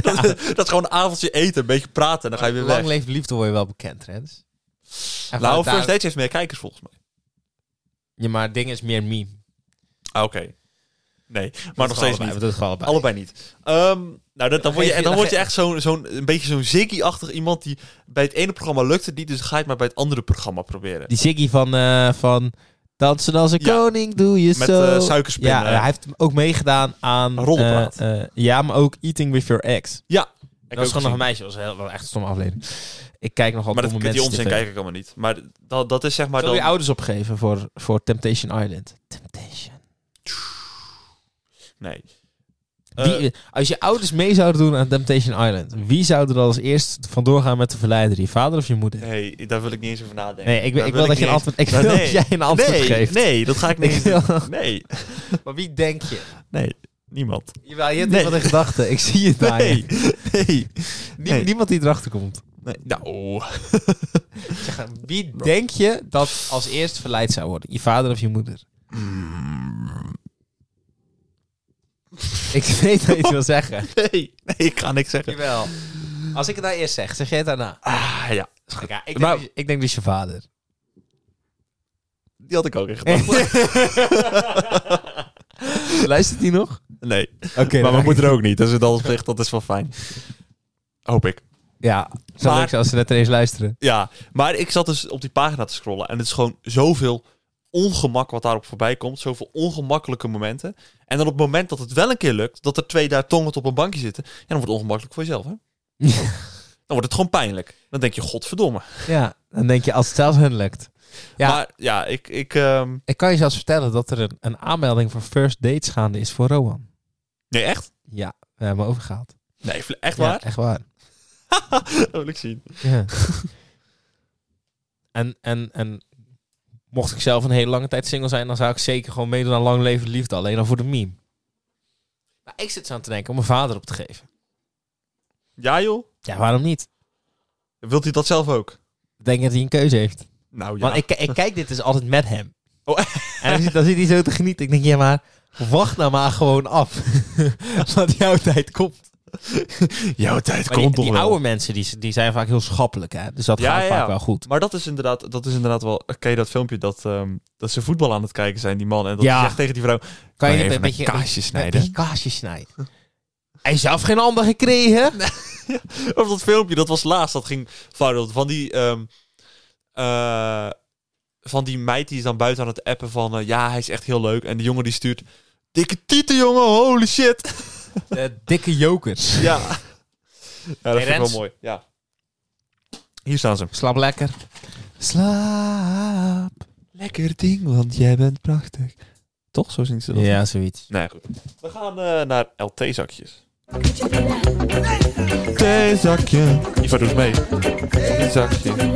Speaker 1: dat, dat is gewoon een avondje eten, een beetje praten en dan ga je weer weg.
Speaker 2: Lang leven de liefde word je wel bekend, Rens.
Speaker 1: Nou,
Speaker 2: En vanuit daar-
Speaker 1: First Dates heeft meer kijkers volgens mij.
Speaker 2: Ja, maar het ding is meer meme.
Speaker 1: Ah, oké. Nee, maar nog steeds niet.
Speaker 2: Dat is gewoon allebei.
Speaker 1: Allebei niet. Ehm, nou, dat, dan,
Speaker 2: Dan
Speaker 1: word je,
Speaker 2: geef
Speaker 1: en
Speaker 2: je-
Speaker 1: dan
Speaker 2: dan
Speaker 1: word je
Speaker 2: ge-
Speaker 1: echt zo'n, zo'n, een beetje zo'n ziggy-achtig iemand die bij het ene programma lukt het niet, dus ga je het maar bij het andere programma proberen.
Speaker 2: Die Ziggy van, eh, van Dansen als een
Speaker 1: Ja.
Speaker 2: koning, doe je
Speaker 1: Met
Speaker 2: zo.
Speaker 1: eh, suikerspin.
Speaker 2: ja,
Speaker 1: eh.
Speaker 2: hij heeft ook meegedaan aan...
Speaker 1: Roddelpraat.
Speaker 2: eh, eh, ja, maar ook Eating With Your Ex.
Speaker 1: Ik
Speaker 2: dat was
Speaker 1: ook
Speaker 2: gewoon nog een
Speaker 1: gezien.
Speaker 2: meisje. Dat was heel, wel echt een stomme aflevering. Ik kijk nogal
Speaker 1: Maar
Speaker 2: domme
Speaker 1: dat, die
Speaker 2: mensen
Speaker 1: onzin
Speaker 2: tv.
Speaker 1: kijk ik allemaal niet. Maar dat, dat is zeg maar
Speaker 2: Zullen we je
Speaker 1: dan...
Speaker 2: ouders opgeven voor, voor Temptation Island? Temptation.
Speaker 1: Nee. Eh,
Speaker 2: Wie- als je ouders mee zouden doen aan Temptation Island, wie zou er als eerst vandoor gaan met de verleider? Je vader of je moeder?
Speaker 1: nee, daar wil ik niet eens over nadenken.
Speaker 2: Nee, ik,
Speaker 1: Daar
Speaker 2: ik wil dat je
Speaker 1: niet
Speaker 2: een
Speaker 1: eens-
Speaker 2: antwoord, ik
Speaker 1: Maar
Speaker 2: wil
Speaker 1: nee.
Speaker 2: dat jij een antwoord
Speaker 1: nee,
Speaker 2: geeft.
Speaker 1: Nee, dat ga ik niet
Speaker 2: Ik
Speaker 1: eens
Speaker 2: wil-
Speaker 1: doen. Nee,
Speaker 2: Maar wie denk je?
Speaker 1: nee, niemand.
Speaker 2: Jawel, je hebt
Speaker 1: Nee.
Speaker 2: iemand in gedachten. Ik zie je daar.
Speaker 1: Nee, nee. nee.
Speaker 2: Niemand die erachter komt.
Speaker 1: nee. Nou,
Speaker 2: Zeg, Wie denk je dat als eerst verleid zou worden? Je vader of je moeder? Ik weet wat je het wil zeggen.
Speaker 1: Nee, nee, ik ga niks zeggen.
Speaker 2: Jawel. Als ik het nou eerst zeg, zeg jij het daarna?
Speaker 1: Ah, ja.
Speaker 2: Ja, ik, denk
Speaker 1: Maar-
Speaker 2: dus, ik denk dus je vader.
Speaker 1: Die had ik ook in gedachten.
Speaker 2: Luistert hij nog?
Speaker 1: nee,
Speaker 2: Oké.
Speaker 1: maar
Speaker 2: dan
Speaker 1: mijn
Speaker 2: ga ik-
Speaker 1: moeder ook niet. Dus in dat opzicht, dat is wel fijn. Hoop ik.
Speaker 2: Ja, zo
Speaker 1: Maar-
Speaker 2: leuk zijn als ze net ineens luisteren.
Speaker 1: Ja, maar ik zat dus op die pagina te scrollen. En het is gewoon zoveel ongemak wat daarop voorbij komt. Zoveel ongemakkelijke momenten. En dan op het moment dat het wel een keer lukt, dat er twee daar tongend op een bankje zitten. Ja, dan wordt het ongemakkelijk voor jezelf, hè? Dan wordt het gewoon pijnlijk. Dan denk je, godverdomme.
Speaker 2: Ja, dan denk je als het zelfs hun lukt. Ja.
Speaker 1: Maar ja, ik... ik ehm,
Speaker 2: Ik kan je zelfs vertellen dat er een, een aanmelding voor first dates gaande is voor Rowan.
Speaker 1: Nee, echt?
Speaker 2: Ja, we hebben hem overgehaald.
Speaker 1: Nee, vle- echt
Speaker 2: Ja,
Speaker 1: waar?
Speaker 2: echt waar.
Speaker 1: Dat wil ik zien.
Speaker 2: Ja. en, en, en mocht ik zelf een hele lange tijd single zijn, dan zou ik zeker gewoon meedoen aan Lang Leven de Liefde. Alleen al voor de meme. Maar ik zit zo aan te denken om mijn vader op te geven.
Speaker 1: Ja, joh.
Speaker 2: Ja, waarom niet?
Speaker 1: Wilt hij dat zelf ook?
Speaker 2: Ik denk dat hij een keuze heeft.
Speaker 1: Nou
Speaker 2: Want ik, ik kijk dit dus altijd met hem.
Speaker 1: Oh.
Speaker 2: En dan zit, dan zit hij zo te genieten. Ik denk, ja maar, wacht nou maar gewoon af. Want jouw tijd komt.
Speaker 1: Jouw tijd
Speaker 2: Maar die, die oude mensen, die, die zijn vaak heel schappelijk. Hè? Dus dat
Speaker 1: Ja,
Speaker 2: gaat
Speaker 1: ja, ja.
Speaker 2: vaak wel goed.
Speaker 1: Maar dat is inderdaad, dat is inderdaad wel. eh, Ken je dat filmpje dat, ehm, dat ze voetbal aan het kijken zijn, die man. En dat
Speaker 2: Ja.
Speaker 1: hij zegt tegen die vrouw: "Oh,
Speaker 2: Kan je
Speaker 1: even
Speaker 2: dit
Speaker 1: een
Speaker 2: een beetje
Speaker 1: kaasje
Speaker 2: Een beetje
Speaker 1: snijden?
Speaker 2: kaasje snijden. Hij is zelf geen ander gekregen.
Speaker 1: Of dat filmpje, dat was laatst, dat ging viral. Van die, ehm, eh, van die meid die is dan buiten aan het appen van: eh, Ja, hij is echt heel leuk. En die jongen die stuurt: Dikke tieten, jongen, holy shit.
Speaker 2: De dikke jokers.
Speaker 1: Ja, ja dat vind ik wel
Speaker 2: Rens?
Speaker 1: mooi. Ja. Hier staan ze.
Speaker 2: Slaap lekker. Slaap.
Speaker 1: Lekker ding, want jij bent prachtig. Toch? Zo zien ze dat.
Speaker 2: Ja, zoiets.
Speaker 1: Nee, goed. We gaan eh, naar LT-zakjes. Theezakje. Ivar doet mee. Theezakje.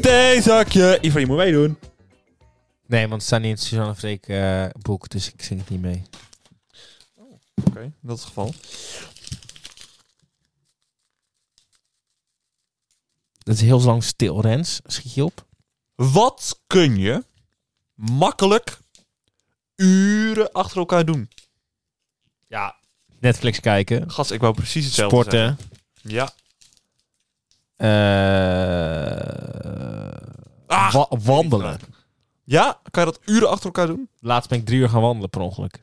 Speaker 1: Theezakje. Ivar, je moet meedoen.
Speaker 2: Nee, want het staat niet in het Suzanne Freek eh, boek, dus ik zing het niet mee.
Speaker 1: Oké, dat is het geval.
Speaker 2: Dat is heel lang stil, Rens. Schiet je op?
Speaker 1: Wat kun je makkelijk uren achter elkaar doen? Ja,
Speaker 2: Netflix kijken.
Speaker 1: gast, ik wou precies hetzelfde
Speaker 2: Sporten.
Speaker 1: zeggen. Ja.
Speaker 2: Eh,
Speaker 1: Ah,
Speaker 2: wa- wandelen.
Speaker 1: ja, kan je dat uren achter elkaar doen?
Speaker 2: Laatst ben ik drie uur gaan wandelen, per ongeluk.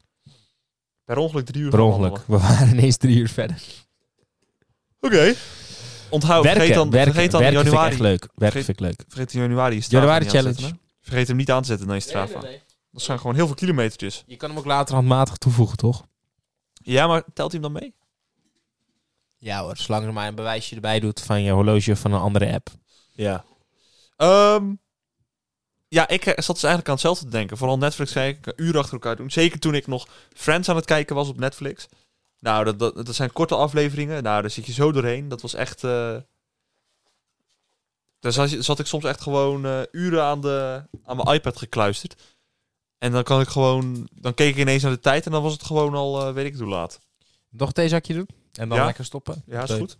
Speaker 1: Per ongeluk drie uur.
Speaker 2: Per
Speaker 1: gaan
Speaker 2: ongeluk. We waren ineens drie uur verder.
Speaker 1: wandelen. Oké. Onthoud,
Speaker 2: werken,
Speaker 1: vergeet dan,
Speaker 2: werken,
Speaker 1: vergeet dan
Speaker 2: werken
Speaker 1: januari.
Speaker 2: vind ik echt leuk. Werken
Speaker 1: Vergeet-
Speaker 2: vind ik leuk.
Speaker 1: Vergeet in januari is Strava
Speaker 2: Januari
Speaker 1: niet aan te
Speaker 2: challenge.
Speaker 1: zetten, hè? Vergeet hem niet aan te zetten dan je Strava. Dat zijn gewoon heel veel kilometertjes.
Speaker 2: Je kan hem ook later handmatig toevoegen, toch?
Speaker 1: Ja, maar telt hij hem dan mee?
Speaker 2: Ja hoor, zolang er maar een bewijsje erbij doet van je horloge of van een andere app.
Speaker 1: Ja. Ehm, ja, ik eh, zat dus eigenlijk aan hetzelfde te denken. Vooral Netflix kijken, een uur achter elkaar doen. Zeker toen ik nog Friends aan het kijken was op Netflix. Nou, dat, dat, dat zijn korte afleveringen. Nou, daar zit je zo doorheen. Dat was echt... eh Daar zat, je- zat ik soms echt gewoon eh, uren aan, de, aan mijn iPad gekluisterd. En dan kan ik gewoon... Dan keek ik ineens naar de tijd en dan was het gewoon al, eh, weet ik het hoe laat.
Speaker 2: Nog een theezakje doen en dan
Speaker 1: Ja.
Speaker 2: lekker stoppen.
Speaker 1: Ja, is
Speaker 2: Leuk.
Speaker 1: goed.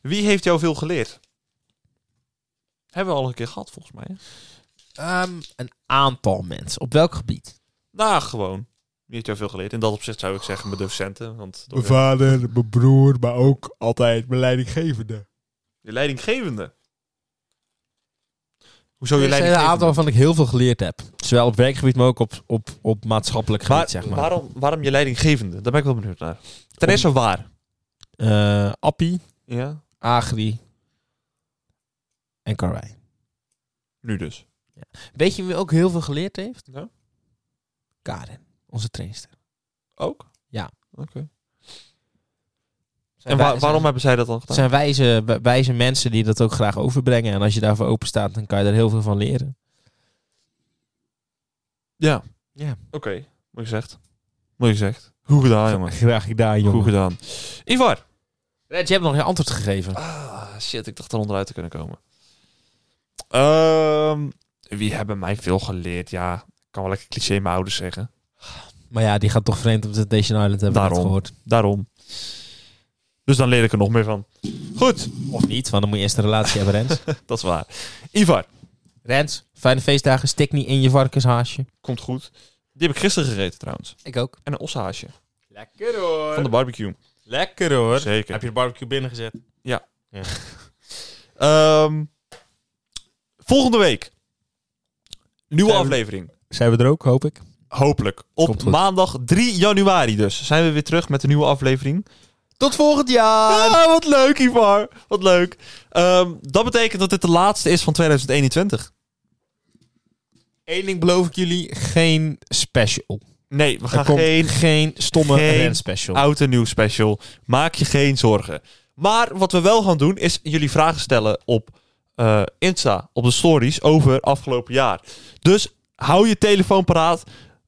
Speaker 1: Wie heeft jou veel geleerd? Hebben we al een keer gehad, volgens mij. hè?
Speaker 2: Ehm, een aantal mensen. Op welk gebied?
Speaker 1: Nou, gewoon. Wie heeft jou veel geleerd? In dat opzicht zou ik zeggen mijn docenten. Want
Speaker 3: Mijn vader, mijn broer, maar ook altijd mijn leidinggevende.
Speaker 1: je leidinggevende. Hoezo je
Speaker 2: er zijn een
Speaker 1: leidinggevende?
Speaker 2: aantal waarvan ik heel veel geleerd heb. Zowel op werkgebied, maar ook op, op, op maatschappelijk gebied,
Speaker 1: Waar-
Speaker 2: zeg maar.
Speaker 1: waarom, waarom je leidinggevende? Daar ben ik wel benieuwd naar. Ten
Speaker 2: Om-
Speaker 1: eerste waar?
Speaker 2: Eh, Appie,
Speaker 1: Ja,
Speaker 2: Agri en Karwei.
Speaker 1: nu dus.
Speaker 2: Weet je wie ook heel veel geleerd heeft?
Speaker 1: Ja.
Speaker 2: Karen, onze trainster.
Speaker 1: Ook?
Speaker 2: Ja.
Speaker 1: Oké.
Speaker 2: Zijn
Speaker 1: En
Speaker 2: wij-
Speaker 1: wa- waarom hebben zij dat dan
Speaker 2: Het
Speaker 1: gedaan?
Speaker 2: zijn wijze, wij- wijze mensen die dat ook graag overbrengen. En als je daarvoor open staat, dan kan je er heel veel van leren.
Speaker 1: Ja.
Speaker 2: Ja.
Speaker 1: Oké, mooi gezegd. Mooi gezegd. Hoe gedaan, Ah, jongen.
Speaker 2: Graag gedaan,
Speaker 1: Goed gedaan. Ivar.
Speaker 2: Red, je hebt nog geen antwoord gegeven.
Speaker 1: Ah, shit, ik dacht er onderuit te kunnen komen. Ehm, wie hebben mij veel geleerd? Ja, ik kan wel lekker cliché mijn ouders zeggen.
Speaker 2: Maar ja, die gaat toch vreemd op Temptation Island hebben we net
Speaker 1: Daarom.
Speaker 2: gehoord.
Speaker 1: Daarom. Dus dan leer ik er nog meer van. Goed,
Speaker 2: Of niet, want dan moet je eerst een relatie hebben, Rens.
Speaker 1: dat is waar. Ivar,
Speaker 2: Rens, fijne feestdagen. Stik niet in je varkenshaasje.
Speaker 1: komt goed. Die heb ik gisteren gegeten trouwens.
Speaker 2: Ik ook.
Speaker 1: En een ossehaasje
Speaker 2: Lekker hoor.
Speaker 1: van de barbecue.
Speaker 2: Lekker hoor.
Speaker 1: Zeker.
Speaker 2: de barbecue binnengezet?
Speaker 1: Ehm, volgende week. Nieuwe
Speaker 2: Zijn we-
Speaker 1: aflevering.
Speaker 2: Zijn we er ook, hoop ik.
Speaker 1: Hopelijk. Op
Speaker 2: Komt goed.
Speaker 1: maandag 3 januari dus. Zijn we weer terug met een nieuwe aflevering.
Speaker 2: Tot volgend jaar.
Speaker 1: Ah, wat leuk, Ivar. Wat leuk. Ehm, dat betekent dat dit de laatste is van 2021.
Speaker 2: Eén ding beloof ik jullie. Geen special.
Speaker 1: Nee, we
Speaker 2: Er
Speaker 1: gaan
Speaker 2: komt
Speaker 1: geen
Speaker 2: geen, stomme
Speaker 1: geen
Speaker 2: Rens special.
Speaker 1: oud en nieuw special. Maak je geen zorgen. Maar wat we wel gaan doen, is jullie vragen stellen op eh, Insta, op de stories over afgelopen jaar. Dus hou je telefoon paraat,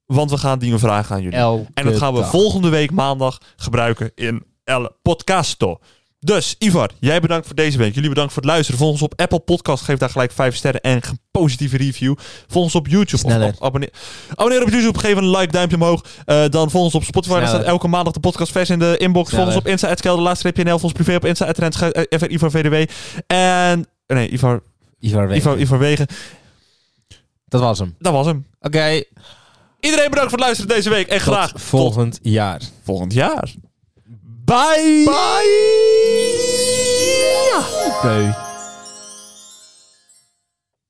Speaker 1: want we gaan die een vraag aan jullie.
Speaker 2: Elke
Speaker 1: En dat gaan we
Speaker 2: dag.
Speaker 1: volgende week maandag gebruiken in El Podcasto. Dus Ivar, jij bedankt voor deze week. Jullie bedankt voor het luisteren. Volg ons op Apple Podcast. Geef daar gelijk 5 sterren en een positieve review. Volg ons op YouTube. Of
Speaker 2: Sneller.
Speaker 1: ab- abonneer. abonneer op YouTube. Geef een like, duimpje omhoog. Eh, dan volg ons op Spotify. Daar
Speaker 2: Sneller.
Speaker 1: staat elke maandag de podcast vers in de inbox. Volg ons
Speaker 2: Sneller.
Speaker 1: op Insta, @kelder, laatste streepje NL. Volg ons privé op Insta, @rens, eh, FR Ivar VDW. En... Nee, Ivar,
Speaker 2: Ivar Wegen.
Speaker 1: Ivar, Ivar Wegen.
Speaker 2: Dat was hem.
Speaker 1: Dat was hem.
Speaker 2: Oké,
Speaker 1: Iedereen bedankt voor het luisteren deze week. En graag
Speaker 2: tot volgend jaar.
Speaker 1: volgend jaar. Bye! Bye!
Speaker 2: Deuk.